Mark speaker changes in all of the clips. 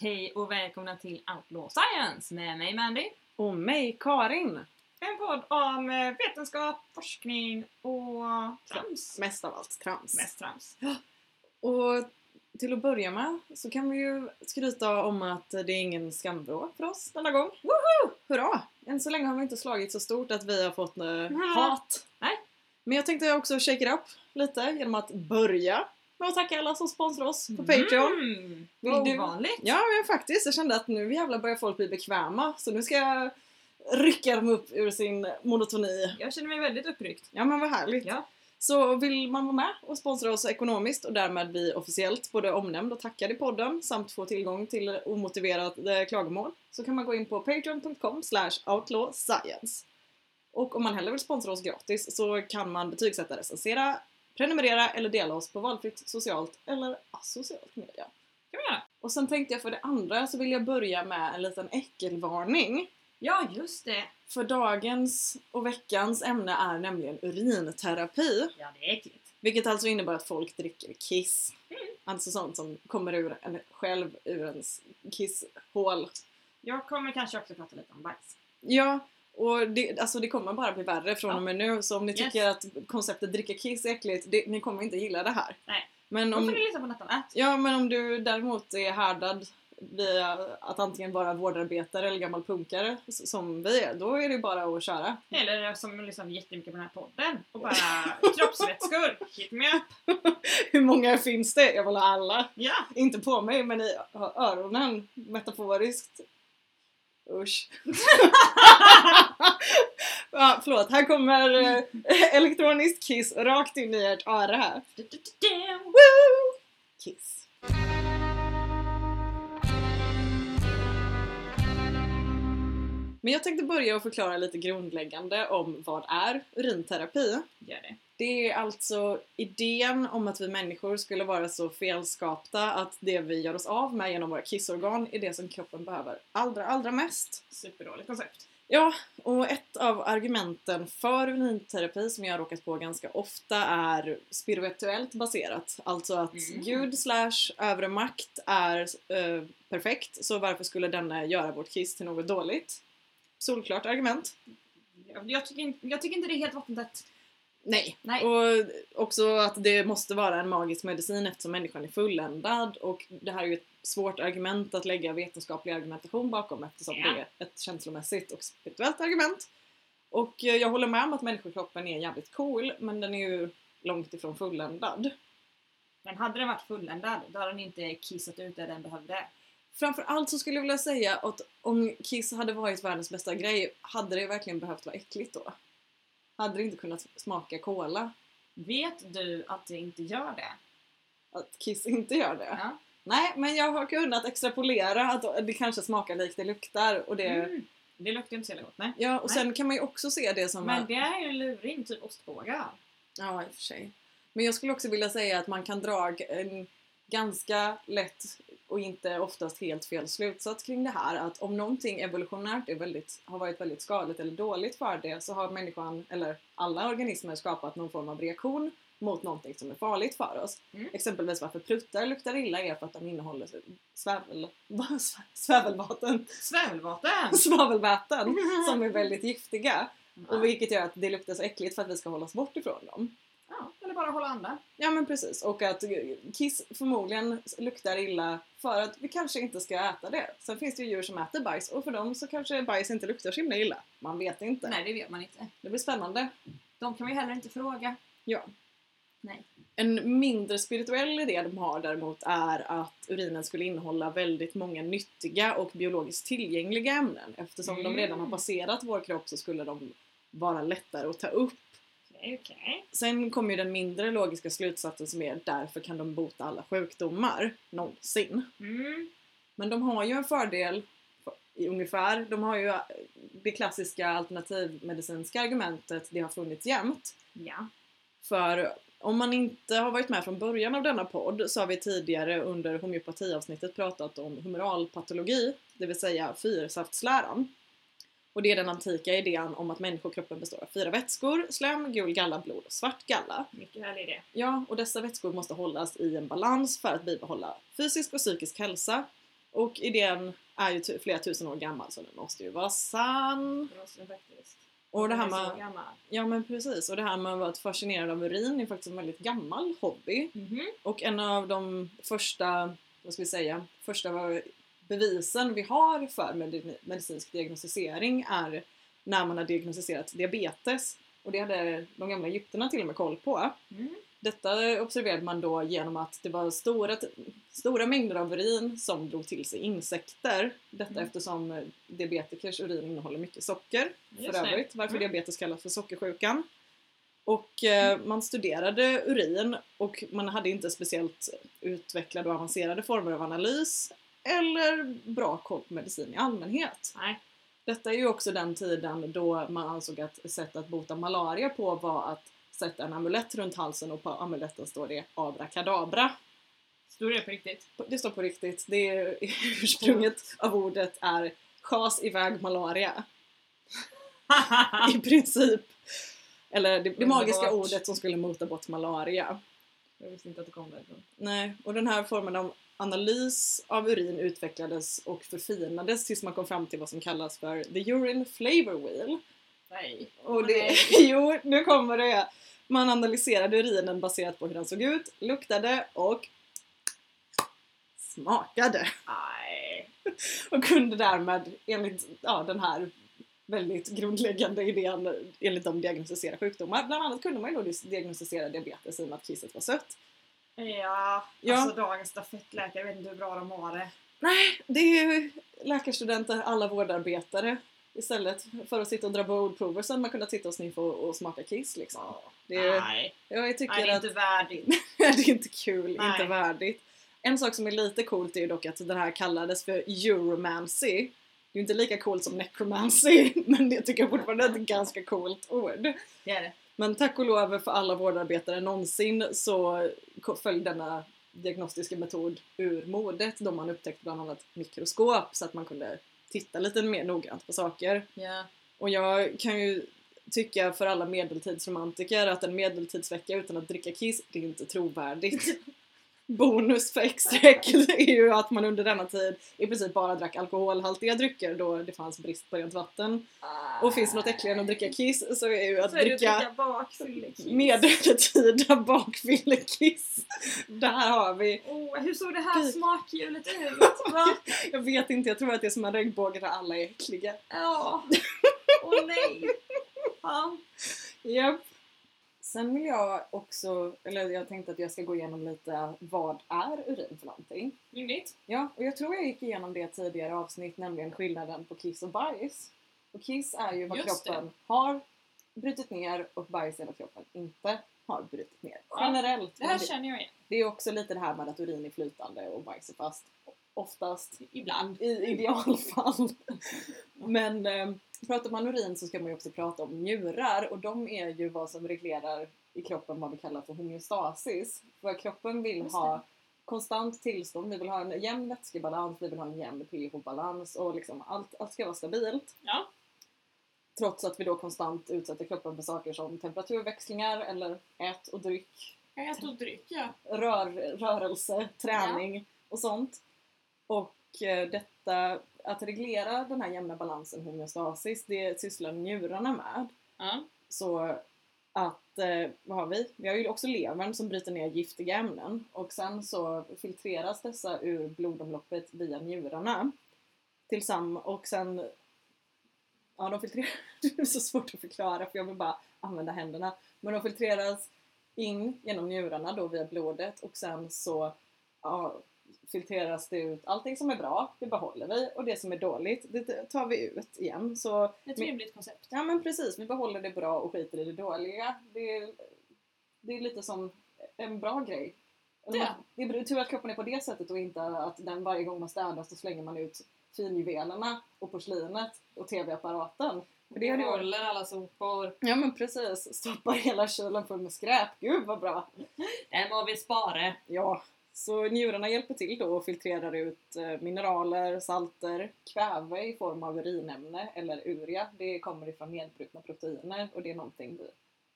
Speaker 1: Hej och välkomna till Outlaw Science med mig Mandy.
Speaker 2: Och mig, Karin.
Speaker 1: En podd om eh, vetenskap, forskning och trams.
Speaker 2: Mest av allt trams.
Speaker 1: Mest trams.
Speaker 2: Och till att börja med så kan vi ju skryta om att det är ingen skamvrå för oss denna gång. Woho! Hurra! Än så länge har vi inte slagit så stort att vi har fått eh, hat.
Speaker 1: Nej.
Speaker 2: Men jag tänkte också shake it up lite genom att börja med att tacka alla som sponsrar oss på Patreon.
Speaker 1: Mm,
Speaker 2: Vill
Speaker 1: vad
Speaker 2: du-
Speaker 1: ovanligt.
Speaker 2: Ja men faktiskt, jag kände att nu jävlar börjar folk bli bekväma så nu ska jag rycka dem upp ur sin monotoni.
Speaker 1: Jag känner mig väldigt uppryckt.
Speaker 2: Ja men vad härligt.
Speaker 1: Ja.
Speaker 2: Så vill man vara med och sponsra oss ekonomiskt och därmed bli officiellt både omnämnd och tackad i podden samt få tillgång till omotiverade klagomål så kan man gå in på patreon.com slash outlawscience. Och om man hellre vill sponsra oss gratis så kan man betygsätta, recensera, prenumerera eller dela oss på valfritt socialt eller asocialt media.
Speaker 1: Kan vi göra.
Speaker 2: Och sen tänkte jag för det andra så vill jag börja med en liten äckelvarning.
Speaker 1: Ja, just det.
Speaker 2: För dagens och veckans ämne är nämligen urinterapi.
Speaker 1: Ja, det är äckligt.
Speaker 2: Vilket alltså innebär att folk dricker kiss. Alltså sånt som kommer ur en själv, ur ens kisshål.
Speaker 1: Jag kommer kanske också prata lite om bajs.
Speaker 2: Ja, och det, alltså det kommer bara bli värre från
Speaker 1: Ja.
Speaker 2: och med nu. Så om ni
Speaker 1: Yes.
Speaker 2: tycker att konceptet dricka kiss är äckligt, det, ni kommer inte gilla det här.
Speaker 1: Nej.
Speaker 2: Men
Speaker 1: Då får
Speaker 2: om,
Speaker 1: ni lyssna på något annat.
Speaker 2: ja, men om du däremot är härdad via att antingen vara vårdarbetare eller gammal punkare s- som vi är, då är det bara att köra.
Speaker 1: Eller som lyssnar jättemycket på den här podden och bara kroppsvätskor. Hit me up.
Speaker 2: Hur många finns det? Jag vill ha alla.
Speaker 1: Ja.
Speaker 2: Inte på mig, men i ö- öronen. Metaforiskt. Usch. ja, förlåt, här kommer eh, elektronisk kiss rakt in i ert öra här.
Speaker 1: Du-du-du-du.
Speaker 2: Woo! Kiss. Men jag tänkte börja och förklara lite grundläggande om vad är urinterapi.
Speaker 1: Gör det.
Speaker 2: Det är alltså idén om att vi människor skulle vara så felskapta att det vi gör oss av med genom våra kissorgan är det som kroppen behöver allra, allra mest.
Speaker 1: Superdåligt koncept.
Speaker 2: Ja, och ett av argumenten för urinterapi som jag har råkat på ganska ofta är spirituellt baserat. Alltså att
Speaker 1: Mm.
Speaker 2: gud slash övre makt är eh, perfekt, så varför skulle denna göra vårt kiss till något dåligt? Solklart argument.
Speaker 1: Jag, jag, tycker inte, jag tycker inte det är helt vattentätt.
Speaker 2: Nej.
Speaker 1: Nej.
Speaker 2: Och också att det måste vara en magisk medicin eftersom människan är fulländad och det här är ju ett svårt argument att lägga vetenskaplig argumentation bakom eftersom
Speaker 1: Ja.
Speaker 2: det är ett känslomässigt och spirituellt argument. Och eh, jag håller med om att människokroppen är jävligt cool men den är ju långt ifrån fulländad.
Speaker 1: Men hade den varit fulländad, då hade den inte kissat ut det den behövde.
Speaker 2: Framförallt så skulle jag vilja säga att om Kiss hade varit världens bästa grej, hade det verkligen behövt vara äckligt då? Hade det inte kunnat smaka cola?
Speaker 1: Vet du att det inte gör det?
Speaker 2: Att Kiss inte gör det?
Speaker 1: Ja.
Speaker 2: Nej, men jag har kunnat extrapolera att det kanske smakar likt det luktar. Och det,
Speaker 1: Mm. Det luktar inte så jävla gott, nej.
Speaker 2: ja, och sen kan man ju också se det som...
Speaker 1: Men
Speaker 2: att,
Speaker 1: det är ju en luring, typ ostbågar.
Speaker 2: ja, i och för sig. Men jag skulle också vilja säga att man kan dra en ganska lätt och inte oftast helt fel slutsats kring det här. Att om någonting evolutionärt är väldigt, har varit väldigt skadligt eller dåligt för det så har människan, eller alla organismer, skapat någon form av reaktion mot någonting som är farligt för oss.
Speaker 1: Mm.
Speaker 2: Exempelvis varför pruttar luktar illa är för att de innehåller svävel, svävelvatten.
Speaker 1: Mm. Svävelvatten!
Speaker 2: svavelväten som är väldigt giftiga.
Speaker 1: Ja.
Speaker 2: Och vilket gör att det luktar så äckligt för att vi ska hålla oss bort ifrån dem.
Speaker 1: Ja, eller bara hålla andan.
Speaker 2: Ja men precis. Och att kiss förmodligen luktar illa för att vi kanske inte ska äta det. Sen finns det ju djur som äter bajs och för dem så kanske bajs inte luktar så himla illa. Man vet inte.
Speaker 1: Nej, det vet man inte.
Speaker 2: Det blir spännande.
Speaker 1: De kan man ju heller inte fråga.
Speaker 2: En mindre spirituell idé de har däremot är att urinen skulle innehålla väldigt många nyttiga och biologiskt tillgängliga ämnen. Eftersom
Speaker 1: Mm.
Speaker 2: de redan har passerat vår kropp så skulle de vara lättare att ta upp
Speaker 1: Okej, okej.
Speaker 2: Sen kommer ju den mindre logiska slutsatsen som är därför kan de bota alla sjukdomar någonsin.
Speaker 1: Mm.
Speaker 2: Men de har ju en fördel i ungefär. De har ju det klassiska alternativmedicinska argumentet det har funnits jämt.
Speaker 1: Ja.
Speaker 2: För om man inte har varit med från början av denna podd så har vi tidigare under homeopatiavsnittet pratat om humoralpatologi, det vill säga fyrsaftsläran. Och det är den antika idén om att människokroppen består av fyra vätskor, slem, gul galla, blod och svart galla.
Speaker 1: Mycket härlig idé.
Speaker 2: Ja, och dessa vätskor måste hållas i en balans för att bibehålla fysisk och psykisk hälsa. Och idén är ju tu- flera tusen år gammal så den måste ju vara sann.
Speaker 1: Det måste den faktiskt.
Speaker 2: Och det här
Speaker 1: Den är så
Speaker 2: med,
Speaker 1: gammal.
Speaker 2: ja men precis, och det här med att vara fascinerad av urin är faktiskt en väldigt gammal hobby.
Speaker 1: Mhm.
Speaker 2: Och en av de första, vad ska vi säga, första var- bevisen vi har för medi- medicinsk diagnostisering är när man har diagnostiserat diabetes. Och det hade de gamla egyptierna till och med koll på.
Speaker 1: Mm.
Speaker 2: Detta observerade man då genom att det var stora, stora mängder av urin som drog till sig insekter. Detta
Speaker 1: Mm.
Speaker 2: eftersom eh, diabetikers urin innehåller mycket socker
Speaker 1: Just
Speaker 2: för
Speaker 1: det.
Speaker 2: övrigt, varför
Speaker 1: Mm.
Speaker 2: diabetes kallas för sockersjukan. Och eh, man studerade urin och man hade inte speciellt utvecklade och avancerade former av analys eller bra koll på medicin i allmänhet.
Speaker 1: Nej.
Speaker 2: Detta är ju också den tiden då man ansåg att ett sätt att bota malaria på var att sätta en amulett runt halsen och på amuletten står det abrakadabra.
Speaker 1: Stod det på riktigt?
Speaker 2: Det står på riktigt, det är ursprunget av ordet är schas iväg malaria i princip. Eller det, det magiska
Speaker 1: Underbart.
Speaker 2: ordet som skulle mota bort malaria.
Speaker 1: Jag visste inte att det kom därifrån.
Speaker 2: Nej, och den här formen av analys av urin utvecklades och förfinades tills man kom fram till vad som kallas för the urine flavor wheel.
Speaker 1: Nej.
Speaker 2: Och det,
Speaker 1: Nej.
Speaker 2: jo, nu kommer det! Man analyserade urinen baserat på hur den såg ut, luktade och smakade.
Speaker 1: Nej.
Speaker 2: Och kunde därmed enligt ja, den här väldigt grundläggande idén enligt dem diagnostisera sjukdomar. Bland annat kunde man ju då diagnostisera diabetes i och med att kisset var sött.
Speaker 1: Ja,
Speaker 2: Ja.
Speaker 1: alltså dagens stafettläkare, jag vet inte hur bra de har det.
Speaker 2: Det är ju läkarstudenter, alla vårdarbetare. Istället för att sitta och dra blodprover så hade man kunnat sitta och sniffa och, och smaka kiss liksom. Det är,
Speaker 1: Nej.
Speaker 2: jag tycker
Speaker 1: Nej, det är
Speaker 2: att
Speaker 1: inte värdigt.
Speaker 2: det är inte kul,
Speaker 1: Nej.
Speaker 2: inte värdigt. En sak som är lite coolt är ju dock att den här kallades för Euromancy. Det är ju inte lika coolt som necromancy, men det tycker jag fortfarande är ett ganska coolt ord.
Speaker 1: Det är det.
Speaker 2: Men tack och lov för alla vårdarbetare någonsin så ko- föll denna diagnostiska metod ur modet då man upptäckte bland annat mikroskop så att man kunde titta lite mer noggrant på saker.
Speaker 1: Ja.
Speaker 2: Och jag kan ju tycka för alla medeltidsromantiker att en medeltidsvecka utan att dricka kiss, det är ju inte trovärdigt. Bonus för extra äckel är ju att man under denna tid i princip bara drack alkoholhaltiga drycker då det fanns brist på rent vatten. Och finns det något äckligare än att dricka kiss så är ju att
Speaker 1: Så är det att
Speaker 2: dricka
Speaker 1: dricka liksom. bakfyllekiss.
Speaker 2: medeltida bakfyllekiss. Där har vi.
Speaker 1: Oh, hur såg det här
Speaker 2: Gud.
Speaker 1: smakhjulet ut? Va?
Speaker 2: Jag vet inte, jag tror att det är som en regnbåge där alla är äckliga.
Speaker 1: Ja. Åh nej. Fan.
Speaker 2: Japp. Sen vill jag också, eller jag tänkte att jag ska gå igenom lite vad är urin för någonting?
Speaker 1: Rimligt.
Speaker 2: Ja, och jag tror jag gick igenom det i ett tidigare avsnitt, nämligen skillnaden på kiss och bajs. Och kiss är ju vad
Speaker 1: Just det.
Speaker 2: kroppen har brutit ner och bajs är vad kroppen inte har brutit ner.
Speaker 1: Ja.
Speaker 2: Generellt.
Speaker 1: Det här
Speaker 2: men det,
Speaker 1: känner jag igen.
Speaker 2: det är också lite det här med att urin är flytande och bajs är fast. Oftast
Speaker 1: Ibland.
Speaker 2: i idealfall. Men eh, pratar man urin så ska man ju också prata om njurar och de är ju vad som reglerar i kroppen vad vi kallar för homeostasis. Vad kroppen vill
Speaker 1: Just
Speaker 2: ha
Speaker 1: det.
Speaker 2: konstant tillstånd, vi vill ha en jämn vätskebalans, vi vill ha en jämn pH-balans och liksom allt, allt ska vara stabilt.
Speaker 1: Ja.
Speaker 2: Trots att vi då konstant utsätter kroppen för saker som temperaturväxlingar eller ät och dryck
Speaker 1: Jag äter och dricker.
Speaker 2: rör, rörelse, träning och sånt. Och eh, detta, att reglera den här jämna balansen, homeostasis, det sysslar njurarna med.
Speaker 1: Ja.
Speaker 2: Så att, eh, vad har vi? Vi har ju också levern som bryter ner giftiga ämnen och sen så filtreras dessa ur blodomloppet via njurarna. Tillsammans och sen, ja de filtreras, det är så svårt att förklara för jag vill bara använda händerna. Men de filtreras in genom njurarna då via blodet och sen så ja, filtreras det ut allting som är bra, det behåller vi och det som är dåligt, det tar vi ut igen. Så
Speaker 1: Ett
Speaker 2: Men-
Speaker 1: rimligt koncept.
Speaker 2: Ja men precis, vi behåller det bra och skiter i det dåliga. Det är, det är lite som en bra grej. Eller
Speaker 1: Ja.
Speaker 2: man- Det är tur att kroppen är på det sättet och inte att den varje gång man städar så slänger man ut finjuvelerna och porslinet och tv-apparaten. För det hade ju varit...
Speaker 1: Behåller alla sopor.
Speaker 2: Ja men precis, stoppar hela kylen full med skräp. Gud vad bra!
Speaker 1: Den må vi spara.
Speaker 2: Ja, så njurarna hjälper till då och filtrerar ut eh, mineraler, salter, kväve i form av urinämne eller urea. Det kommer ifrån nedbrutna proteiner och det är någonting vi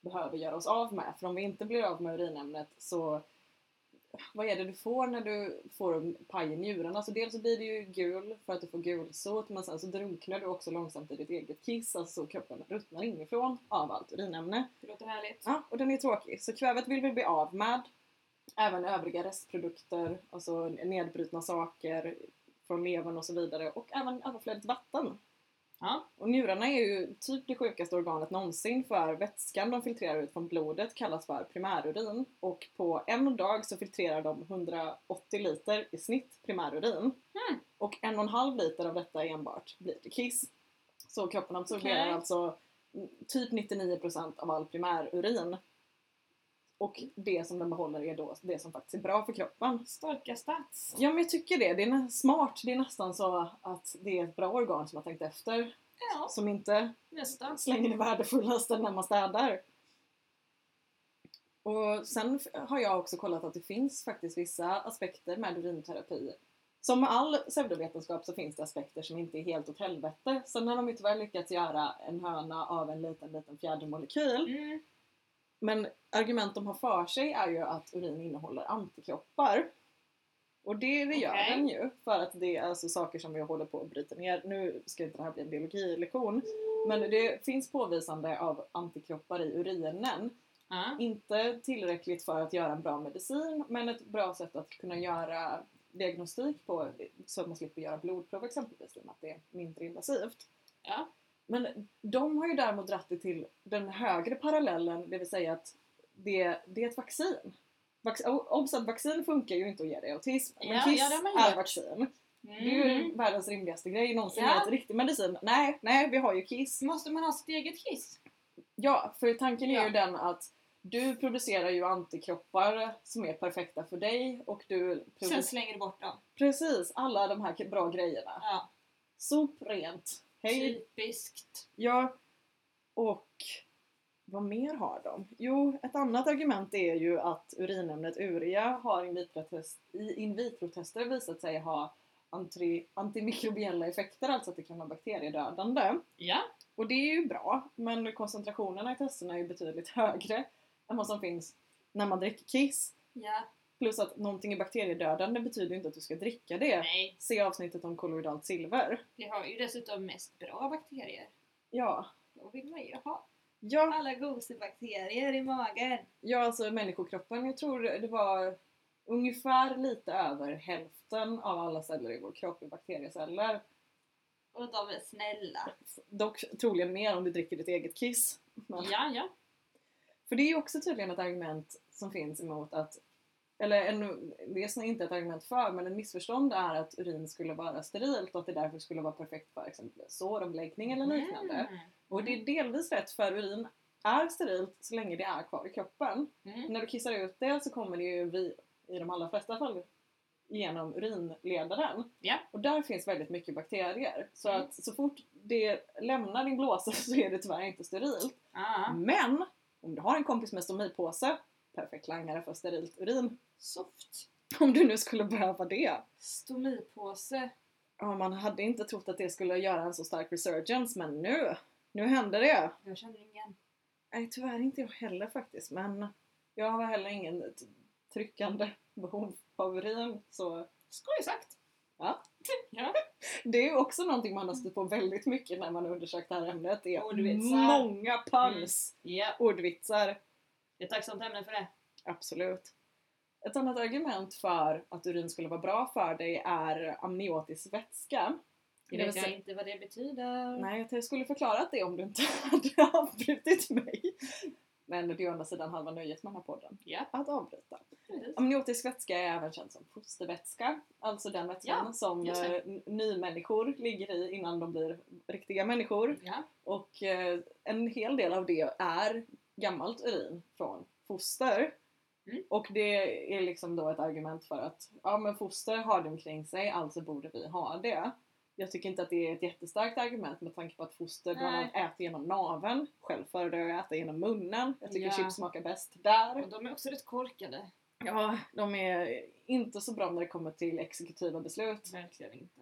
Speaker 2: behöver göra oss av med. För om vi inte blir av med urinämnet så vad är det du får när du får en paj i njurarna? Alltså dels så blir det ju gul för att du får gulsot men sen så drunknar du också långsamt i ditt eget kiss, alltså så kroppen ruttnar inifrån av allt urinämne.
Speaker 1: Det låter härligt.
Speaker 2: Ja, och den är tråkig. Så kvävet vill vi bli av med. Även övriga restprodukter, alltså nedbrutna saker från levern och så vidare och även överflödigt vatten.
Speaker 1: Ja.
Speaker 2: Och njurarna är ju typ det sjukaste organet någonsin för vätskan de filtrerar ut från blodet kallas för primärurin och på en dag så filtrerar de 180 liter i snitt primärurin
Speaker 1: Mm.
Speaker 2: och en och en halv liter av detta enbart blir till kiss. Så kroppen absorberar
Speaker 1: Okej.
Speaker 2: alltså mm, typ 99% av all primärurin och det som den behåller är då det som faktiskt är bra för kroppen.
Speaker 1: Starka stats.
Speaker 2: Ja men jag tycker det. Det är nä- smart. Det är nästan så att det är ett bra organ som har tänkt efter.
Speaker 1: Ja,
Speaker 2: Som inte
Speaker 1: nästan.
Speaker 2: slänger det värdefullaste när man städar. Och sen f- har jag också kollat att det finns faktiskt vissa aspekter med urinterapi. Som med all pseudovetenskap så finns det aspekter som inte är helt åt helvete. Sen har de ju tyvärr lyckats göra en höna av en liten, liten fjädermolekyl.
Speaker 1: Mm.
Speaker 2: Men argument de har för sig är ju att urin innehåller antikroppar. Och det, det gör
Speaker 1: Okej.
Speaker 2: den ju. För att det är alltså saker som vi håller på att bryta ner. Nu ska inte det här bli en biologilektion. Men det finns påvisande av antikroppar i urinen.
Speaker 1: Ja.
Speaker 2: Inte tillräckligt för att göra en bra medicin men ett bra sätt att kunna göra diagnostik på så att man slipper göra blodprov exempelvis i och med att det är mindre invasivt.
Speaker 1: Ja.
Speaker 2: Men de har ju däremot dratt det till den högre parallellen, det vill säga att det, det är ett vaccin. Vax, o- obs att vaccin funkar ju inte att ge dig autism, men
Speaker 1: Ja,
Speaker 2: kiss
Speaker 1: ja, det har man
Speaker 2: är
Speaker 1: gjort.
Speaker 2: vaccin.
Speaker 1: Mm.
Speaker 2: Det är ju världens rimligaste grej någonsin
Speaker 1: Ja.
Speaker 2: att riktig medicin, nej, nej vi har ju kiss.
Speaker 1: Måste man ha sitt eget kiss?
Speaker 2: Ja, för tanken är
Speaker 1: Ja.
Speaker 2: ju den att du producerar ju antikroppar som är perfekta för dig och du
Speaker 1: Sen
Speaker 2: producerar
Speaker 1: slänger du bort dem.
Speaker 2: precis alla de här bra grejerna.
Speaker 1: Ja. Typ.
Speaker 2: Soprent! Hej!
Speaker 1: Typiskt.
Speaker 2: Ja, och vad mer har de? Jo, ett annat argument är ju att urinämnet urea har in vitro-test- i in vitro-tester visat sig ha antri- antimikrobiella effekter, alltså att det kan vara bakteriedödande.
Speaker 1: Ja.
Speaker 2: Och det är ju bra, men koncentrationerna i testerna är ju betydligt högre än vad som finns när man dricker kiss.
Speaker 1: ja.
Speaker 2: Plus att någonting är bakteriedödande betyder ju inte att du ska dricka det.
Speaker 1: Nej.
Speaker 2: Se avsnittet om kolloidalt silver.
Speaker 1: Vi har ju dessutom mest bra bakterier.
Speaker 2: Ja.
Speaker 1: Då vill man ju ha
Speaker 2: Ja,
Speaker 1: alla gosebakterier i magen.
Speaker 2: ja alltså människokroppen, jag tror det var ungefär lite över hälften av alla celler i vår kropp är bakterieceller.
Speaker 1: Och de är snälla.
Speaker 2: Dock troligen mer om du dricker ditt eget kiss. Men-
Speaker 1: Ja, ja.
Speaker 2: För det är ju också tydligen ett argument som finns emot att eller en, det är snarare inte ett argument för, men ett missförstånd är att urin skulle vara sterilt och att det därför skulle vara perfekt för exempelvis såromläggning eller liknande.
Speaker 1: Mm.
Speaker 2: Och det är delvis rätt, för urin är sterilt så länge det är kvar i kroppen.
Speaker 1: Mm.
Speaker 2: När du kissar ut det så kommer det ju vi, i de allra flesta fall genom urinledaren.
Speaker 1: Ja.
Speaker 2: Och där finns väldigt mycket bakterier. Så
Speaker 1: Mm.
Speaker 2: att så fort det lämnar din blåsa så är det tyvärr inte sterilt.
Speaker 1: Ja.
Speaker 2: Men om du har en kompis med stomipåse, perfekt langare för sterilt urin.
Speaker 1: Soft.
Speaker 2: Om du nu skulle behöva det.
Speaker 1: Stomipåse.
Speaker 2: Ja, man hade inte trott att det skulle göra en så stark resurgence, men nu, nu hände det.
Speaker 1: Jag känner ingen.
Speaker 2: Nej, tyvärr inte jag heller faktiskt, men jag har heller ingen t- tryckande behov av urin. Så
Speaker 1: Skoj sagt.
Speaker 2: Ja.
Speaker 1: ja.
Speaker 2: det är ju också någonting man har stött på väldigt mycket när man har undersökt det här ämnet. Det är
Speaker 1: Ordvitsar. Mm.
Speaker 2: många pans
Speaker 1: Ja.
Speaker 2: ordvitsar.
Speaker 1: Det är ett tacksamt ämne för det.
Speaker 2: Absolut. Ett annat argument för att urin skulle vara bra för dig är amniotisk vätska.
Speaker 1: Det
Speaker 2: Det
Speaker 1: vet
Speaker 2: vill
Speaker 1: jag
Speaker 2: säga-
Speaker 1: inte vad det betyder.
Speaker 2: Nej, jag skulle förklarat det om du inte hade avbrutit mig. Men det är å andra sidan halva nöjet med den här podden.
Speaker 1: Ja.
Speaker 2: Att avbryta.
Speaker 1: Precis.
Speaker 2: Amniotisk vätska är även känd som fostervätska. Alltså den vätskan som
Speaker 1: just det.
Speaker 2: eh, n- nymänniskor ligger i innan de blir riktiga människor.
Speaker 1: Ja.
Speaker 2: Och eh, en hel del av det är gammalt urin från foster.
Speaker 1: Mm.
Speaker 2: Och det är liksom då ett argument för att ja men foster har det omkring sig, alltså borde vi ha det. Jag tycker inte att det är ett jättestarkt argument med tanke på att foster bland
Speaker 1: Nej.
Speaker 2: annat äter genom naveln. Själv föredrar jag att äta genom munnen. Jag tycker
Speaker 1: Ja.
Speaker 2: chips smakar bäst där.
Speaker 1: Och de är också rätt korkade.
Speaker 2: Ja, de är inte så bra när det kommer till exekutiva beslut.
Speaker 1: Verkligen inte.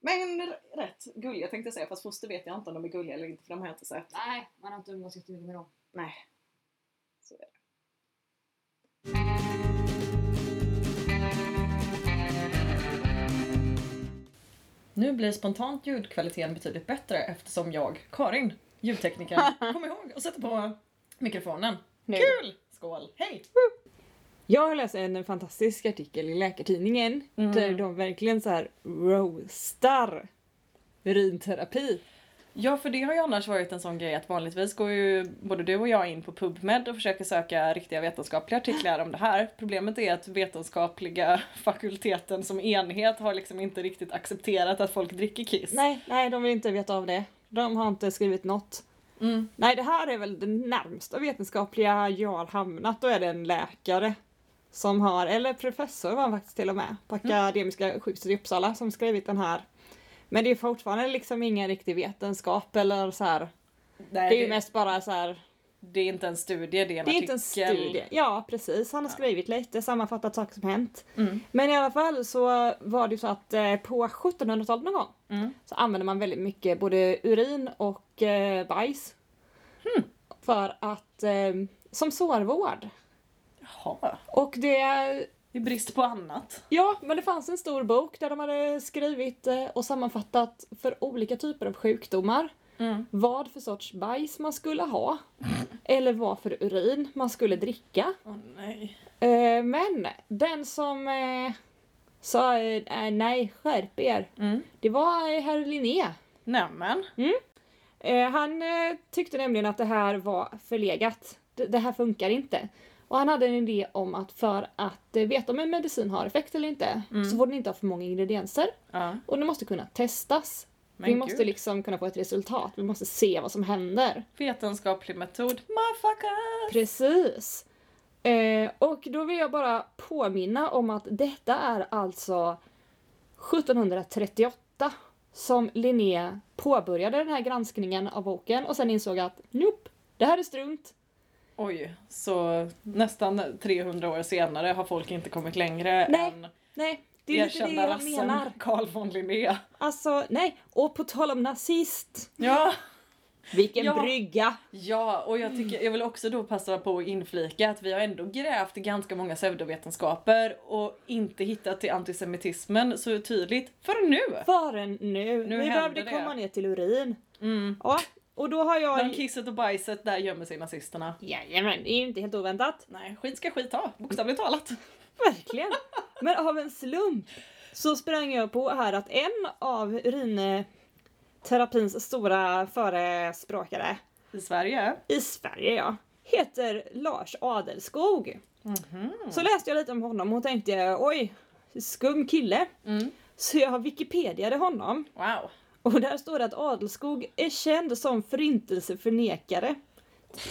Speaker 2: Men r- rätt gulliga tänkte jag säga, fast foster vet jag inte om de är gulliga eller inte för de har jag inte sett.
Speaker 1: Nej, man har inte umgåtts jättemycket med dem.
Speaker 2: Nej. Så är det. nu blir spontant ljudkvaliteten betydligt bättre eftersom jag, Karin, ljudteknikern, kom ihåg att sätta på mikrofonen.
Speaker 3: Nu.
Speaker 2: Kul! Skål! Hej!
Speaker 3: Jag har läst en fantastisk artikel i Läkartidningen
Speaker 1: Mm.
Speaker 3: där de verkligen så här roastar urinterapi.
Speaker 2: Ja, för det har ju annars varit en sån grej att vanligtvis går ju både du och jag in på PubMed och försöker söka riktiga vetenskapliga artiklar om det här. Problemet är att vetenskapliga fakulteten som enhet har liksom inte riktigt accepterat att folk dricker kiss.
Speaker 3: Nej, nej, de vill inte veta av det. De har inte skrivit något.
Speaker 2: Mm.
Speaker 3: Nej, det här är väl det närmsta vetenskapliga jag har hamnat. Då är det en läkare som har, eller professor var han faktiskt till och med, på
Speaker 2: Mm.
Speaker 3: Akademiska sjukhuset i Uppsala som skrivit den här. Men det är fortfarande liksom ingen riktig vetenskap eller så här.
Speaker 2: Nej,
Speaker 3: Det är ju mest bara så här
Speaker 2: det är inte en studie, det är en
Speaker 3: Det är
Speaker 2: artikel.
Speaker 3: inte en studie. Ja precis, han har
Speaker 2: Ja.
Speaker 3: skrivit lite, sammanfattat saker som hänt.
Speaker 2: Mm.
Speaker 3: Men i alla fall så var det ju så att eh, på 1700-talet någon gång
Speaker 2: Mm.
Speaker 3: så använde man väldigt mycket både urin och eh, bajs. För att, eh, som sårvård.
Speaker 2: Jaha,
Speaker 3: Och det,
Speaker 2: det är brist på annat.
Speaker 3: ja men det fanns en stor bok där de hade skrivit eh, och sammanfattat för olika typer av sjukdomar.
Speaker 2: Mm.
Speaker 3: Vad för sorts bajs man skulle ha. Eller vad för urin man skulle dricka.
Speaker 2: Åh nej.
Speaker 3: Eh, men den som eh, sa eh, eh, nej, skärp er,
Speaker 2: Mm.
Speaker 3: det var eh, herr Linné.
Speaker 2: Nämen.
Speaker 3: Eh, han eh, tyckte nämligen att det här var förlegat. Det, det här funkar inte. Och han hade en idé om att för att eh, veta om en medicin har effekt eller inte
Speaker 2: Mm.
Speaker 3: så får den inte ha för många ingredienser
Speaker 2: Ja.
Speaker 3: och den måste kunna testas.
Speaker 2: Men
Speaker 3: vi måste
Speaker 2: gud.
Speaker 3: liksom kunna få ett resultat, vi måste se vad som händer.
Speaker 2: Vetenskaplig metod. Motherfucker!
Speaker 3: Precis. Eh, och då vill jag bara påminna om att detta är alltså 1738 som Linné påbörjade den här granskningen av boken och sen insåg att nope, det här är strunt.
Speaker 2: Oj, så nästan 300 år senare har folk inte kommit längre
Speaker 3: Nej,
Speaker 2: än
Speaker 3: Nej, det är lite det
Speaker 2: erkända
Speaker 3: jag
Speaker 2: rassen
Speaker 3: menar.
Speaker 2: Carl von Linné.
Speaker 3: Alltså, nej. Och på tal om nazist.
Speaker 2: Ja.
Speaker 3: Vilken
Speaker 2: Ja.
Speaker 3: brygga!
Speaker 2: ja, och jag, tycker, jag vill också då passa på att inflika att vi har ändå grävt i ganska många pseudovetenskaper och inte hittat till antisemitismen så tydligt förrän nu.
Speaker 3: Förrän nu.
Speaker 2: Nu
Speaker 3: Vi
Speaker 2: händer
Speaker 3: behövde
Speaker 2: det.
Speaker 3: komma ner till urin.
Speaker 2: Mm.
Speaker 3: Ja, och då har
Speaker 2: Bland
Speaker 3: jag...
Speaker 2: kisset och bajset, där gömmer sig nazisterna.
Speaker 3: Jajamän, det är ju inte helt oväntat.
Speaker 2: Nej, skit ska skit ha, bokstavligt talat.
Speaker 3: Verkligen! Men av en slump så sprang jag på här att en av urinterapins stora förespråkare
Speaker 2: I Sverige.
Speaker 3: i Sverige, ja, heter Lars Adelskog. Så läste jag lite om honom och tänkte oj, skum kille.
Speaker 2: Mm.
Speaker 3: Så jag wikipediade honom
Speaker 2: Wow.
Speaker 3: och där står det att Adelskog är känd som förintelseförnekare.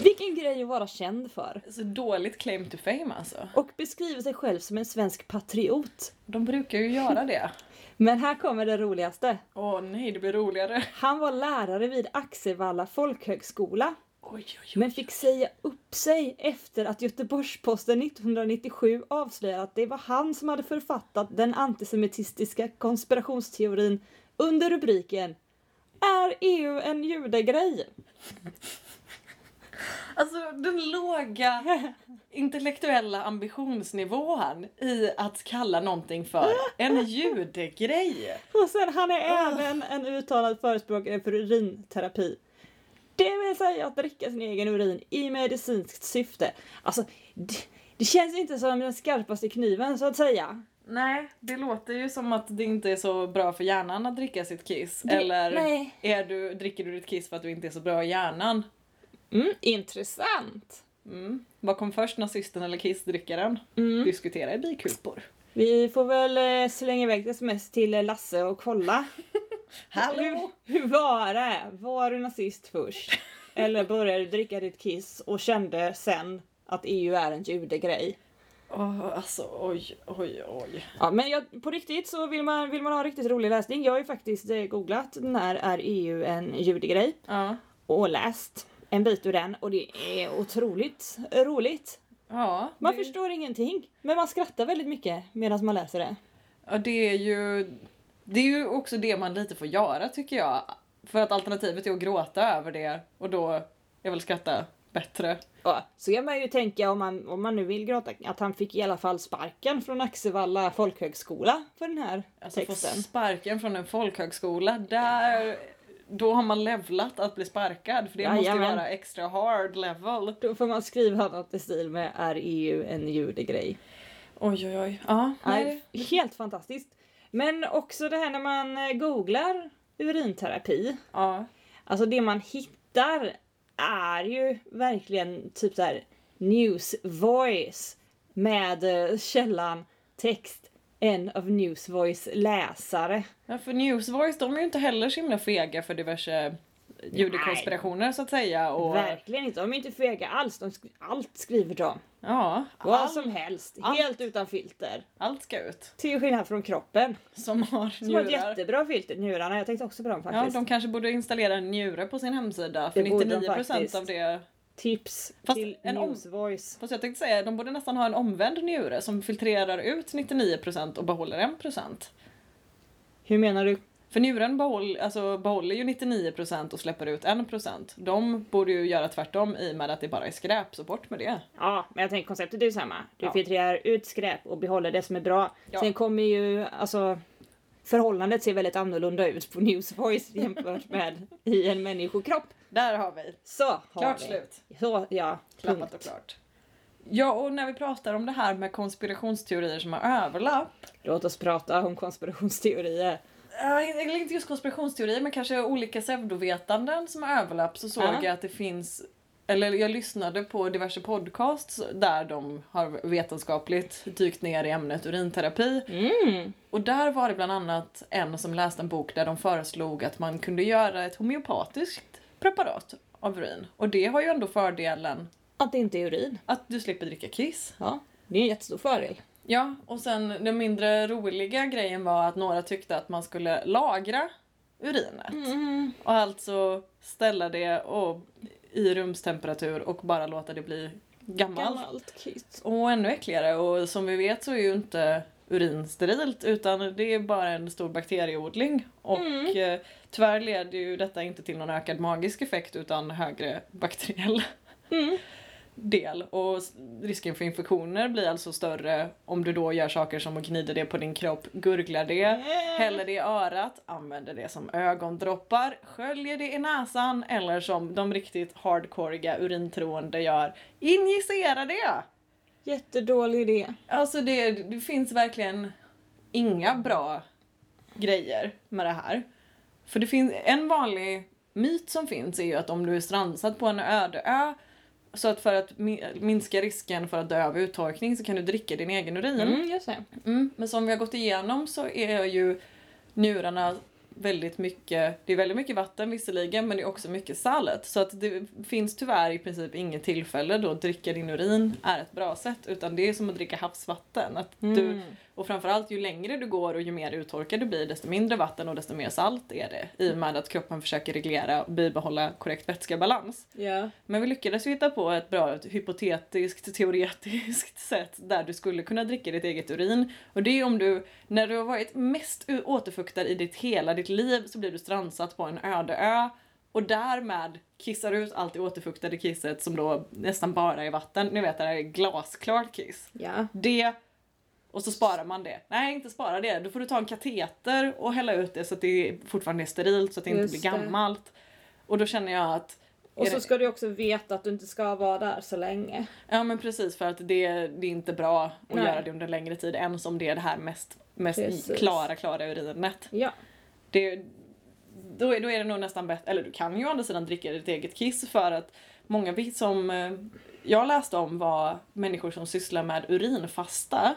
Speaker 3: Vilken grej att vara känd för.
Speaker 2: Så dåligt claim to fame alltså.
Speaker 3: Och beskriver sig själv som en svensk patriot.
Speaker 2: De brukar ju göra det.
Speaker 3: Men här kommer det roligaste.
Speaker 2: Åh nej, det blir roligare.
Speaker 3: Han var lärare vid Axevalla folkhögskola
Speaker 2: Oj, oj, oj.
Speaker 3: men fick säga upp sig efter att Göteborgs-Posten 1997 avslöjade att det var han som hade författat den antisemitistiska konspirationsteorin under rubriken Är EU en judegrej?
Speaker 2: Alltså den låga intellektuella ambitionsnivån i att kalla någonting för en judegrej.
Speaker 3: Och sen han är även en uttalad förespråkare för urinterapi. Det vill säga att dricka sin egen urin i medicinskt syfte. Alltså, det, det känns inte som den skarpaste kniven så att säga.
Speaker 2: Nej, det låter ju som att det inte är så bra för hjärnan att dricka sitt kiss.
Speaker 3: Det-
Speaker 2: Eller
Speaker 3: nej.
Speaker 2: Är du, dricker du ditt kiss för att du inte är så bra i hjärnan?
Speaker 3: Mm, intressant.
Speaker 2: Mm. Vad kom först, nazisten eller kissdrickaren? Mm. Diskutera i bikupor.
Speaker 3: Mm. Vi får väl eh, slänga iväg ett sms till eh, Lasse och kolla. Hur, hur var det? Var du nazist först? Eller började du dricka ditt kiss och kände sen att EU är en judegrej?
Speaker 2: Åh, alltså oj, oj, oj.
Speaker 3: Ja, men jag, på riktigt så vill man, vill man ha riktigt rolig läsning. Jag har ju faktiskt eh, googlat när är EU en judegrej
Speaker 2: Ja.
Speaker 3: och läst en bit ur den och det är otroligt roligt.
Speaker 2: Ja,
Speaker 3: Man
Speaker 2: det,
Speaker 3: förstår ingenting, men man skrattar väldigt mycket medan man läser det.
Speaker 2: ja, det är ju... Det är ju också det man lite får göra tycker jag. För att alternativet är att gråta över det och då är väl skratta bättre.
Speaker 3: Ja, så kan man ju tänka om man, om man nu vill gråta att han fick i alla fall sparken från Axevalla folkhögskola för den här
Speaker 2: Alltså få
Speaker 3: texten.
Speaker 2: sparken från en folkhögskola, där, då har man levlat att bli sparkad. För det måste ju
Speaker 3: Jajamän.
Speaker 2: vara extra hard level.
Speaker 3: Då får man skriva något i stil med är EU en judegrej.
Speaker 2: Oj oj oj. Ja, nej.
Speaker 3: Nej, helt fantastiskt. Men också det här när man eh, googlar urinterapi.
Speaker 2: Ja.
Speaker 3: Alltså det man hittar är ju verkligen typ så här news voice med eh, källan text en av Newsvoice läsare.
Speaker 2: ja, för Newsvoice de är ju inte heller så himla fega för diverse judekonspirationer så att säga. Och,
Speaker 3: Verkligen inte, de är inte fega alls. De skri- allt skriver de.
Speaker 2: ja,
Speaker 3: Vad som helst.
Speaker 2: allt.
Speaker 3: Helt utan filter.
Speaker 2: allt ska ut.
Speaker 3: Till skillnad från kroppen.
Speaker 2: Som har
Speaker 3: Som har ett
Speaker 2: njurar.
Speaker 3: jättebra filter. Njurarna, jag tänkte också på dem
Speaker 2: Ja,
Speaker 3: faktiskt.
Speaker 2: de kanske borde installera en njure på sin hemsida. För
Speaker 3: Det borde de
Speaker 2: 99% av
Speaker 3: faktiskt.
Speaker 2: det
Speaker 3: Tips
Speaker 2: Fast
Speaker 3: till
Speaker 2: en om-
Speaker 3: Newsvoice.
Speaker 2: Fast jag tänkte säga, de borde nästan ha en omvänd njure som filtrerar ut 99% och behåller 1%.
Speaker 3: Hur menar du?
Speaker 2: För njuren behåll, alltså, behåller ju 99% och släpper ut 1%. De borde ju göra tvärtom i och med att det bara är skräp, så bort med det.
Speaker 3: Ja, men jag tänker konceptet är ju samma. Du
Speaker 2: Ja.
Speaker 3: filtrerar ut skräp och behåller det som är bra.
Speaker 2: Ja.
Speaker 3: Sen kommer ju, alltså förhållandet ser väldigt annorlunda ut på Newsvoice jämfört med i en människokropp.
Speaker 2: Där har vi!
Speaker 3: Så har
Speaker 2: Klart
Speaker 3: vi.
Speaker 2: slut!
Speaker 3: Så, ja.
Speaker 2: Klappat och
Speaker 3: punkt.
Speaker 2: klart. Ja, och när vi pratar om det här med konspirationsteorier som har överlapp.
Speaker 3: Låt oss prata om konspirationsteorier.
Speaker 2: eh, Eller inte just konspirationsteorier, men kanske olika pseudovetanden som har överlapp. Så såg
Speaker 3: Ja.
Speaker 2: jag att det finns eller jag lyssnade på diverse podcasts där de har vetenskapligt dykt ner i ämnet urinterapi.
Speaker 3: Mm.
Speaker 2: Och där var det bland annat en som läste en bok där de föreslog att man kunde göra ett homeopatiskt preparat av urin. Och det har ju ändå fördelen
Speaker 3: Att det inte är urin.
Speaker 2: att du slipper dricka kiss.
Speaker 3: Ja, det är en jättestor fördel.
Speaker 2: Ja, och sen den mindre roliga grejen var att några tyckte att man skulle lagra urinet.
Speaker 3: Mm,
Speaker 2: Och alltså ställa det och, i rumstemperatur och bara låta det bli gammalt.
Speaker 3: Gammalt kiss.
Speaker 2: Och ännu äckligare och som vi vet så är ju inte urin sterilt utan det är bara en stor bakterieodling. Och eh, tyvärr leder ju detta inte till någon ökad magisk effekt utan högre bakteriell
Speaker 3: Mm.
Speaker 2: del. Och s- risken för infektioner blir alltså större om du då gör saker som att gnida det på din kropp, gurglar det, häller det i örat, använder det som ögondroppar, sköljer det i näsan eller som de riktigt hardcoreiga urintroende gör, injicera det!
Speaker 3: Jättedålig idé.
Speaker 2: Alltså det, det finns verkligen inga bra grejer med det här. För det finns en vanlig myt som finns är ju att om du är strandsatt på en öde ö så att för att mi- minska risken för att dö av uttorkning så kan du dricka din egen urin.
Speaker 3: Mm, just det.
Speaker 2: Mm, men som vi har gått igenom så är ju njurarna väldigt mycket, det är väldigt mycket vatten visserligen men det är också mycket salt. Så att det finns tyvärr i princip inget tillfälle då att dricka din urin är ett bra sätt utan det är som att dricka havsvatten. Att
Speaker 3: Mm.
Speaker 2: du, och framförallt ju längre du går och ju mer uttorkad du blir desto mindre vatten och desto mer salt är det i och med att kroppen försöker reglera och bibehålla korrekt vätskebalans.
Speaker 3: Ja.
Speaker 2: Men vi lyckades ju hitta på ett bra ett hypotetiskt, teoretiskt sätt där du skulle kunna dricka ditt eget urin. Och det är om du, när du har varit mest u- återfuktad i ditt hela ditt liv så blir du strandsatt på en öde ö och därmed kissar ut allt det återfuktade kisset som då nästan bara är vatten. Ni vet det här är glasklart kiss.
Speaker 3: Ja.
Speaker 2: Det och så sparar man det. Nej, inte spara det. Då får du ta en kateter och hälla ut det så att det fortfarande är sterilt så att det inte
Speaker 3: Just
Speaker 2: blir
Speaker 3: det.
Speaker 2: gammalt. Och då känner jag att
Speaker 3: Och
Speaker 2: är
Speaker 3: så
Speaker 2: det-
Speaker 3: ska du också veta att du inte ska vara där så länge.
Speaker 2: Ja men precis för att det, det är inte bra att
Speaker 3: Nej.
Speaker 2: göra det under längre tid än som det är det här mest, mest
Speaker 3: Precis.
Speaker 2: klara klara urinet.
Speaker 3: Ja.
Speaker 2: Det, då, är, då är det nog nästan bättre, eller du kan ju å andra sidan dricka ditt eget kiss för att många vi- som eh, jag läste om var människor som sysslar med urinfasta.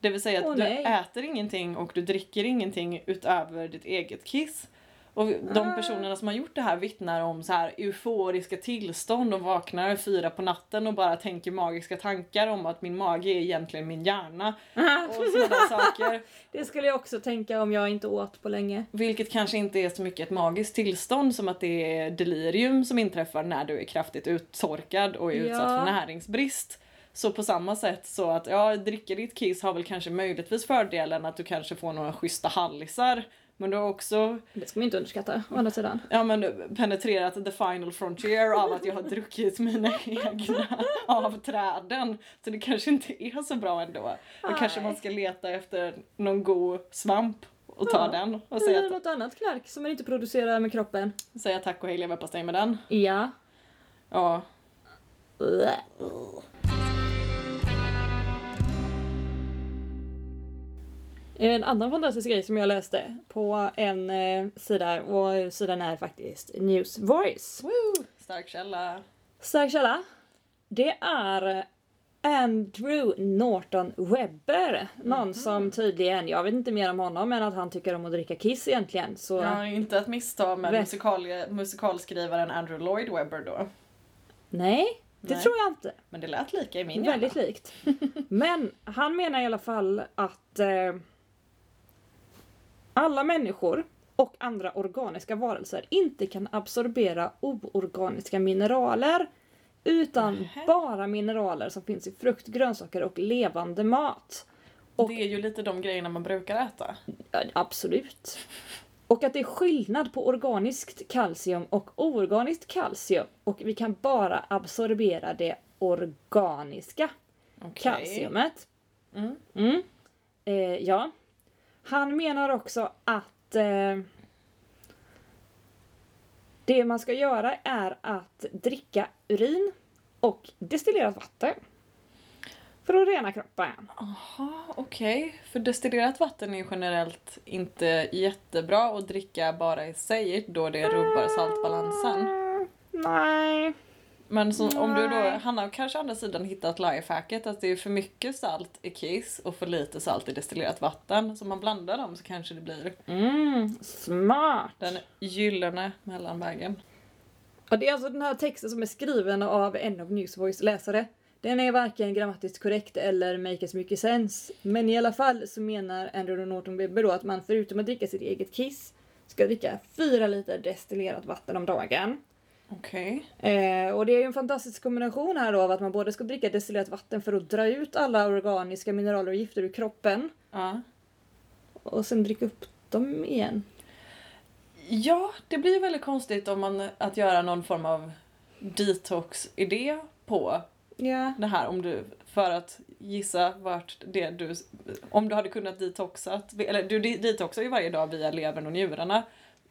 Speaker 2: Det vill säga att
Speaker 3: Åh,
Speaker 2: du
Speaker 3: nej.
Speaker 2: äter ingenting och du dricker ingenting utöver ditt eget kiss. Och de
Speaker 3: Ah.
Speaker 2: personerna som har gjort det här vittnar om så här euforiska tillstånd och vaknar fyra på natten och bara tänker magiska tankar om att min mage är egentligen min hjärna och sådana saker.
Speaker 3: Det skulle jag också tänka om jag inte åt på länge.
Speaker 2: Vilket kanske inte är så mycket ett magiskt tillstånd som att det är delirium som inträffar när du är kraftigt uttorkad och är
Speaker 3: Ja.
Speaker 2: utsatt för näringsbrist. Så på samma sätt så att ja, dricka ditt kiss har väl kanske möjligtvis fördelen att du kanske får några schyssta hallisar Men du har också
Speaker 3: Det ska man ju inte underskatta å andra sidan.
Speaker 2: ja, men, penetrerat the final frontier av att jag har druckit mina egna av träden. Så det kanske inte är så bra ändå. Då kanske man ska leta efter någon god svamp och ta
Speaker 3: Ja.
Speaker 2: den och säga,
Speaker 3: Eller
Speaker 2: att,
Speaker 3: något annat knark som man inte producerar med kroppen.
Speaker 2: säga tack och hej leverpastej med den.
Speaker 3: Ja.
Speaker 2: Ja.
Speaker 3: Blä. En annan fantastisk grej som jag läste på en eh, sida och sidan är faktiskt News Voice.
Speaker 2: Woo! Stark källa.
Speaker 3: Stark källa. Det är Andrew Norton Webber. Någon
Speaker 2: Mm-hmm.
Speaker 3: som tydligen, jag vet inte mer om honom än att han tycker om att dricka kiss egentligen. Så
Speaker 2: Ja, inte att missta med
Speaker 3: Väl-
Speaker 2: musikal, musikalskrivaren Andrew Lloyd Webber då.
Speaker 3: nej, det
Speaker 2: Nej.
Speaker 3: tror jag inte.
Speaker 2: Men det lät lika i min hjärna.
Speaker 3: Väldigt likt. Men han menar i alla fall att eh, alla människor och andra organiska varelser inte kan absorbera oorganiska mineraler utan
Speaker 2: Nähä.
Speaker 3: bara mineraler som finns i frukt, grönsaker och levande mat. Och-
Speaker 2: Det är ju lite de grejerna man brukar äta.
Speaker 3: Ja, absolut. Och att det är skillnad på organiskt kalcium och oorganiskt kalcium och vi kan bara absorbera det organiska
Speaker 2: Okej.
Speaker 3: kalciumet.
Speaker 2: Mm.
Speaker 3: Mm. Eh, ja. Han menar också att eh, det man ska göra är att dricka urin och destillerat vatten. För att rena kroppen.
Speaker 2: Aha, okej. För destillerat vatten är ju generellt inte jättebra att dricka bara i sig då det rubbar saltbalansen.
Speaker 3: Mm, nej.
Speaker 2: Men så, om du då,
Speaker 3: Nej.
Speaker 2: han har kanske å andra sidan hittat lifehacket att det är för mycket salt i kiss och för lite salt i destillerat vatten. Så om man blandar dem så kanske det blir
Speaker 3: Mm, smart.
Speaker 2: den gyllene mellanvägen.
Speaker 3: Ja, det är alltså den här texten som är skriven av en av Newsvoice läsare. Den är varken grammatiskt korrekt eller make as mycket sense. Men i alla fall så menar Andrew Norton Webber då att man förutom att dricka sitt eget kiss ska dricka 4 liter destillerat vatten om dagen.
Speaker 2: Okej.
Speaker 3: Eh, och det är ju en fantastisk kombination här då av att man både ska dricka destillerat vatten för att dra ut alla organiska mineraler och gifter ur kroppen
Speaker 2: Ja.
Speaker 3: och sen dricka upp dem igen.
Speaker 2: Ja, det blir väldigt konstigt om man att göra någon form av detox-idé på
Speaker 3: Ja.
Speaker 2: det här om du, för att gissa vart det du, om du hade kunnat detoxat, eller du de- detoxar ju varje dag via levern och njurarna.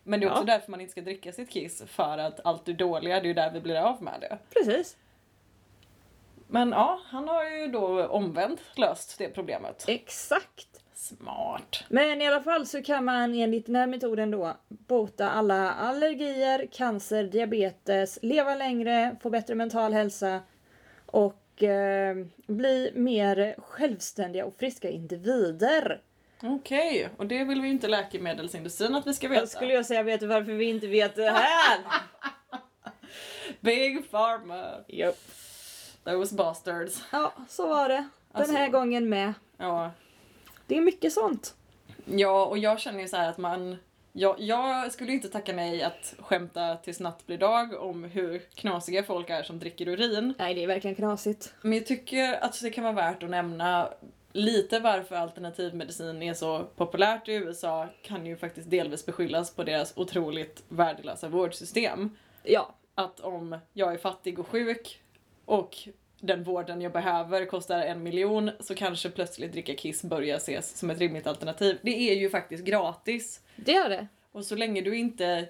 Speaker 2: Men det är också
Speaker 3: Ja.
Speaker 2: därför man inte ska dricka sitt kiss, för att allt det dåliga, det är ju där vi blir av med det.
Speaker 3: Precis.
Speaker 2: Men ja, han har ju då omvänt löst det problemet.
Speaker 3: Exakt.
Speaker 2: Smart.
Speaker 3: Men i alla fall så kan man enligt den här metoden då bota alla allergier, cancer, diabetes, leva längre, få bättre mental hälsa och eh, bli mer självständiga och friska individer.
Speaker 2: Okej, och det vill vi ju inte läkemedelsindustrin att vi ska veta.
Speaker 3: Jag skulle jag säga, vet du varför vi inte vet det här?
Speaker 2: Big Pharma!
Speaker 3: Japp.
Speaker 2: Those bastards.
Speaker 3: Ja, så var det. Den här
Speaker 2: Alltså-
Speaker 3: gången med.
Speaker 2: Ja.
Speaker 3: Det är mycket sånt.
Speaker 2: Ja, och jag känner ju så här att man... Jag, jag skulle ju inte tacka nej att skämta tills natt blir dag om hur knasiga folk är som dricker urin.
Speaker 3: Nej, det är verkligen knasigt.
Speaker 2: Men jag tycker att det kan vara värt att nämna lite varför alternativmedicin är så populärt i USA kan ju faktiskt delvis beskyllas på deras otroligt värdelösa vårdsystem.
Speaker 3: Ja,
Speaker 2: Att om jag är fattig och sjuk och den vården jag behöver kostar en miljon så kanske plötsligt dricka kiss börjar ses som ett rimligt alternativ. Det är ju faktiskt gratis.
Speaker 3: det är det.
Speaker 2: Och så länge du inte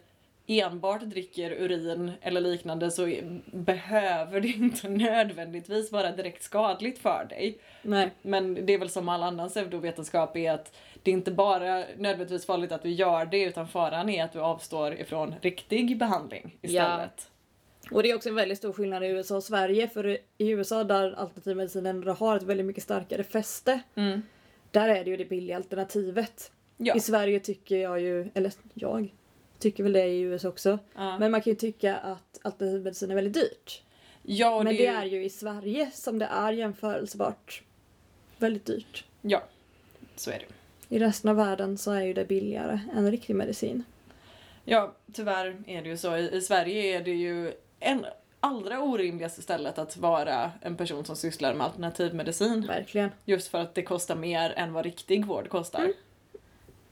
Speaker 2: enbart dricker urin eller liknande så är- behöver det inte nödvändigtvis vara direkt skadligt för dig.
Speaker 3: Nej.
Speaker 2: Men det är väl som all annan pseudovetenskap är att det är inte bara nödvändigtvis farligt att du gör det utan faran är att du avstår ifrån riktig behandling istället.
Speaker 3: Och det är också en väldigt stor skillnad i USA och Sverige för i USA där alternativmedicinen har ett väldigt mycket starkare fäste
Speaker 2: Ja. Mm.
Speaker 3: där är det ju det billiga alternativet.
Speaker 2: Ja.
Speaker 3: I Sverige tycker jag ju, eller jag tycker väl det i USA också,
Speaker 2: Ja.
Speaker 3: men man kan ju tycka att alternativmedicin är väldigt dyrt.
Speaker 2: ja, och
Speaker 3: men
Speaker 2: det är ju-
Speaker 3: ju i Sverige som det är jämförsbart väldigt dyrt.
Speaker 2: Ja, så är det.
Speaker 3: I resten av världen så är ju det billigare än riktig medicin.
Speaker 2: Ja, tyvärr är det ju så. I, i Sverige är det ju en allra orimligaste stället att vara en person som sysslar med alternativmedicin.
Speaker 3: Verkligen.
Speaker 2: Mm. Just för att det kostar mer än vad riktig vård kostar.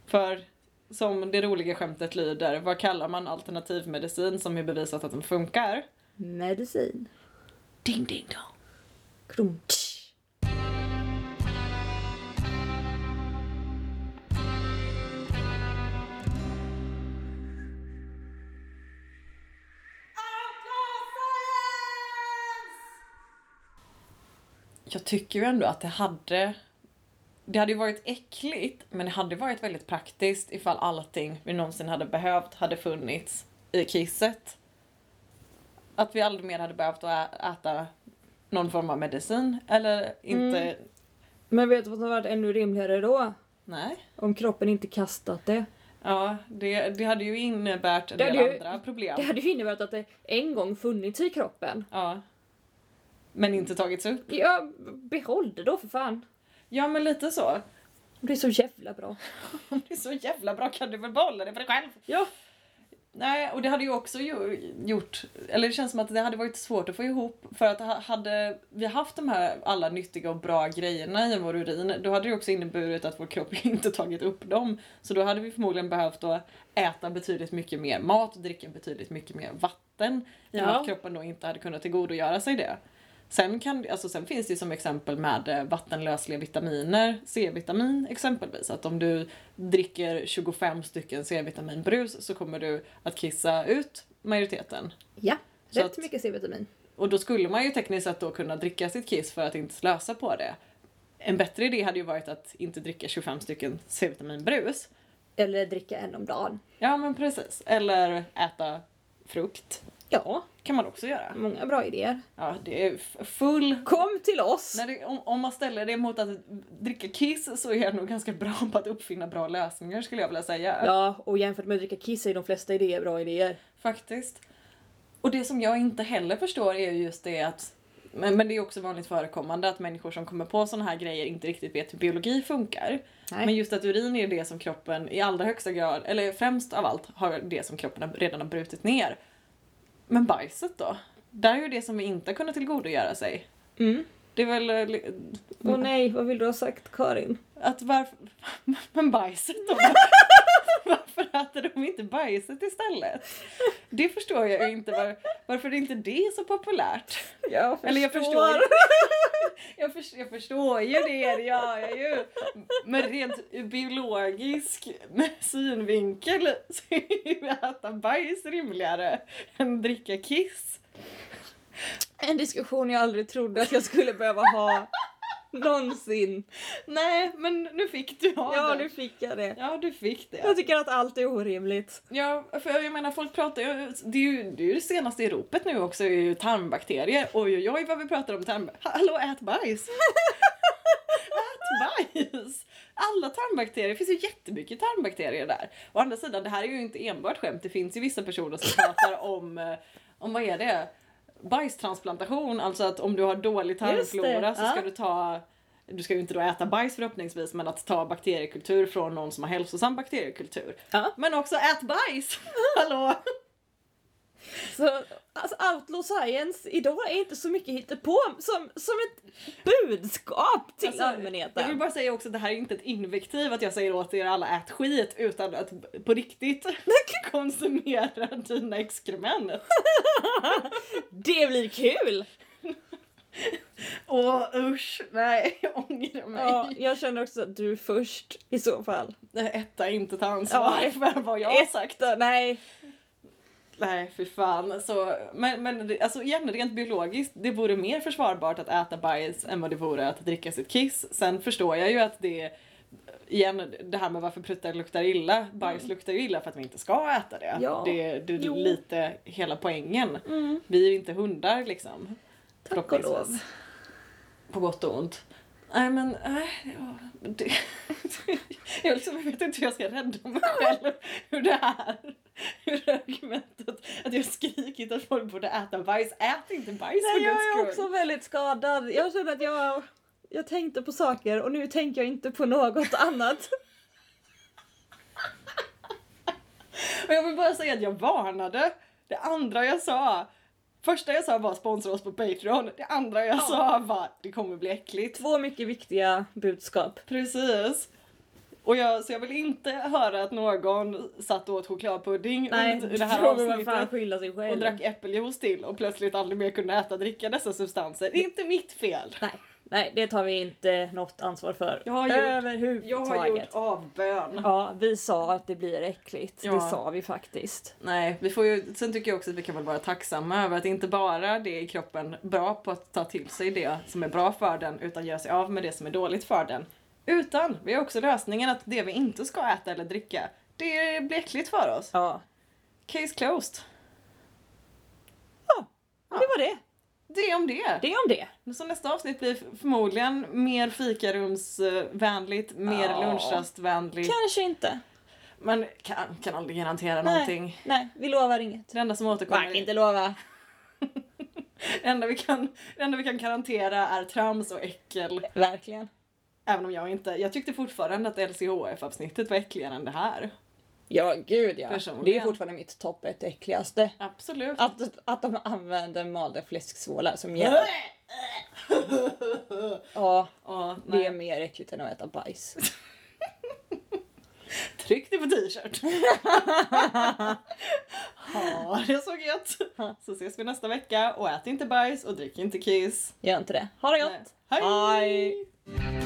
Speaker 2: För Som det roliga skämtet lyder, vad kallar man alternativmedicin som är bevisat att den funkar?
Speaker 3: Medicin.
Speaker 2: Ding ding dong.
Speaker 3: Krunch.
Speaker 2: Jag tycker ju ändå att det hade... Det hade ju varit äckligt, men det hade varit väldigt praktiskt ifall allting vi någonsin hade behövt hade funnits i kisset. Att vi aldrig mer hade behövt att ä- äta någon form av medicin, eller inte...
Speaker 3: Mm. Men vet du vad som varit ännu rimligare då?
Speaker 2: Nej.
Speaker 3: Om kroppen inte kastat det.
Speaker 2: Ja, det, det hade ju innebärt en
Speaker 3: Det
Speaker 2: del
Speaker 3: hade ju-
Speaker 2: andra problem.
Speaker 3: Det hade ju inneburit att det en gång funnits i kroppen.
Speaker 2: Ja. Men inte tagits upp.
Speaker 3: Ja, behåll det då för fan.
Speaker 2: Ja, men lite så.
Speaker 3: Det är så jävla bra.
Speaker 2: Om det är så jävla bra kan du väl behålla det för dig själv?
Speaker 3: Ja.
Speaker 2: Nej, och det hade ju också ju- gjort, eller det känns som att det hade varit svårt att få ihop för att ha- hade vi haft de här alla nyttiga och bra grejerna i vår urin, då hade det också inneburit att vår kropp inte tagit upp dem. Så då hade vi förmodligen behövt att äta betydligt mycket mer mat och dricka betydligt mycket mer vatten i och med
Speaker 3: Ja.
Speaker 2: att kroppen då inte hade kunnat tillgodogöra sig det. Sen, kan, alltså sen finns det ju som exempel med eh, vattenlösliga vitaminer, C-vitamin exempelvis. Att om du dricker 25 stycken C-vitaminbrus så kommer du att kissa ut majoriteten.
Speaker 3: Ja,
Speaker 2: Så
Speaker 3: rätt
Speaker 2: att-
Speaker 3: mycket C-vitamin.
Speaker 2: Och då skulle man ju tekniskt sett då kunna dricka sitt kiss för att inte slösa på det. En bättre idé hade ju varit att inte dricka 25 stycken C-vitaminbrus.
Speaker 3: Eller dricka en om dagen.
Speaker 2: Ja men precis. Eller äta frukt.
Speaker 3: Ja,
Speaker 2: kan man också göra.
Speaker 3: många bra idéer.
Speaker 2: Ja, det är f- full
Speaker 3: Kom till oss!
Speaker 2: När det, om, om man ställer det mot att dricka kiss så är jag nog ganska bra på att uppfinna bra lösningar skulle jag vilja säga.
Speaker 3: Ja, och jämfört med att dricka kiss är de flesta idéer bra idéer.
Speaker 2: Faktiskt. Och det som jag inte heller förstår är ju just det att men, men det är också vanligt förekommande att människor som kommer på sådana här grejer inte riktigt vet hur biologi funkar.
Speaker 3: Nej.
Speaker 2: Men just att urin är det som kroppen i allra högsta grad, eller främst av allt, har det som kroppen har- redan har brutit ner. Men bajset då? Där är ju det som vi inte har kunnat tillgodogöra sig.
Speaker 3: Mm.
Speaker 2: Det är väl eh,
Speaker 3: Åh Mm. nej, vad vill du ha sagt Karin?
Speaker 2: Att varför... Men bajset då? varför äter de inte bajset istället? Det förstår jag ju inte. Var, varför är inte det så populärt?
Speaker 3: Jag
Speaker 2: Eller jag förstår. Jag, för, jag förstår ju det, det gör jag ju. Men rent ur biologisk synvinkel så är ju äta bajs rimligare än dricka kiss.
Speaker 3: En diskussion jag aldrig trodde att jag skulle behöva ha. Någonsin.
Speaker 2: Nej, men nu fick du ha
Speaker 3: Ja,
Speaker 2: det.
Speaker 3: nu fick jag det.
Speaker 2: Ja, du fick det.
Speaker 3: Jag tycker att allt är orimligt.
Speaker 2: Ja, för jag menar folk pratar ju, det är ju det, är ju det senaste i ropet nu också är ju tarmbakterier. Oj oj oj vad vi pratar om tarm... Hallå ät bajs! ät bajs! Alla tarmbakterier, det finns ju jättemycket tarmbakterier där. Å andra sidan, det här är ju inte enbart skämt, det finns ju vissa personer som pratar om, eh, om vad är det? Bajstransplantation, alltså att om du har dålig
Speaker 3: Just det,
Speaker 2: tarmflora så ska
Speaker 3: ja.
Speaker 2: du ta du ska ju inte då äta bajs förhoppningsvis men att ta bakteriekultur från någon som har hälsosam bakteriekultur.
Speaker 3: Ja.
Speaker 2: Men också ät bajs! Hallå!
Speaker 3: Så, alltså, outlaw science idag är inte så mycket hittepå som, som ett budskap till
Speaker 2: Alltså,
Speaker 3: allmänheten.
Speaker 2: Jag vill bara säga också att det här är inte ett invektiv att jag säger åt er alla ät skit utan att på riktigt konsumera dina exkrement.
Speaker 3: Det blir kul!
Speaker 2: Åh usch, nej jag ångrar mig.
Speaker 3: Ja, jag känner också att du är först i så fall.
Speaker 2: Nej, Etta inte ta ansvar
Speaker 3: Ja,
Speaker 2: för vad jag har
Speaker 3: Ett,
Speaker 2: sagt.
Speaker 3: Nej,
Speaker 2: Nej fy fan. Så, men men det- alltså igen, rent biologiskt, det vore mer försvarbart att äta bajs än vad det vore att dricka sitt kiss. Sen förstår jag ju att det, igen det här med varför pruttar luktar illa, bajs luktar ju illa för att vi inte ska äta det.
Speaker 3: Mm. Ja.
Speaker 2: Det, det är
Speaker 3: Jo.
Speaker 2: lite hela poängen.
Speaker 3: Mm.
Speaker 2: Vi är ju inte hundar liksom.
Speaker 3: tack och lov.
Speaker 2: Förhoppningsvis. På gott och ont. Nej men, nej. ja, det, jag, liksom, jag vet inte hur jag ska rädda mig själv. Hur det här, hur det här argumentet att jag skrikit att folk borde äta bajs. Ät inte bajs
Speaker 3: Nej,
Speaker 2: för
Speaker 3: jag är
Speaker 2: guds
Speaker 3: också
Speaker 2: skull.
Speaker 3: väldigt skadad. Jag känner att jag, jag tänkte på saker och nu tänker jag inte på något annat.
Speaker 2: Och jag vill bara säga att jag varnade. Det andra jag sa, första jag sa var sponsra oss på Patreon. Det andra jag sa var det kommer bli äckligt.
Speaker 3: Två mycket viktiga budskap.
Speaker 2: Precis. Och jag, så jag vill inte höra att någon satt och åt chokladpudding
Speaker 3: Nej,
Speaker 2: under det här
Speaker 3: frågar man fan
Speaker 2: avsnittet.
Speaker 3: skylla sig själv.
Speaker 2: Och drack äppeljuice till och plötsligt aldrig mer kunde äta och dricka dessa substanser. Det är inte mitt fel.
Speaker 3: Nej, nej, det tar vi inte något ansvar för.
Speaker 2: Jag har gjort-
Speaker 3: Överhuvudtaget.
Speaker 2: Jag har gjort avbön.
Speaker 3: Ja, vi sa att det blir äckligt.
Speaker 2: Ja.
Speaker 3: Det sa vi faktiskt.
Speaker 2: Nej, vi får ju, sen tycker jag också att vi kan väl vara tacksamma över att inte bara det är kroppen bra på att ta till sig det som är bra för den utan göra sig av med det som är dåligt för den. Utan vi har också lösningen att det vi inte ska äta eller dricka, det blir äckligt för oss.
Speaker 3: Ja,
Speaker 2: Case closed.
Speaker 3: det var det.
Speaker 2: Det om det.
Speaker 3: Det om det.
Speaker 2: Så nästa avsnitt blir förmodligen mer fikarumsvänligt, mer
Speaker 3: Ja.
Speaker 2: lunchrastvänligt.
Speaker 3: Kanske inte.
Speaker 2: Men kan, kan aldrig garantera
Speaker 3: Nej.
Speaker 2: någonting.
Speaker 3: Nej, vi lovar inget.
Speaker 2: Det enda som återkommer
Speaker 3: Man kan inte lova.
Speaker 2: Det enda, vi kan, det enda vi kan garantera är trams och äckel.
Speaker 3: Verkligen.
Speaker 2: Även om jag inte... Jag tyckte fortfarande att LCHF-avsnittet var äckligare än det här.
Speaker 1: Ja, gud ja.
Speaker 2: Personligen.
Speaker 1: Det är fortfarande mitt topp ett äckligaste.
Speaker 2: Absolut.
Speaker 1: Att, att de använder malda fläsksvålar som gäller. Ja,
Speaker 2: Ja,
Speaker 1: det
Speaker 2: nej.
Speaker 1: är mer äckligt än att äta bajs.
Speaker 2: Tryck det på t-shirt. ha det så gött. Så ses vi nästa vecka och ät inte bajs och drick inte kiss.
Speaker 1: Gör inte det. Ha det gott!
Speaker 2: Hej!
Speaker 1: Hej.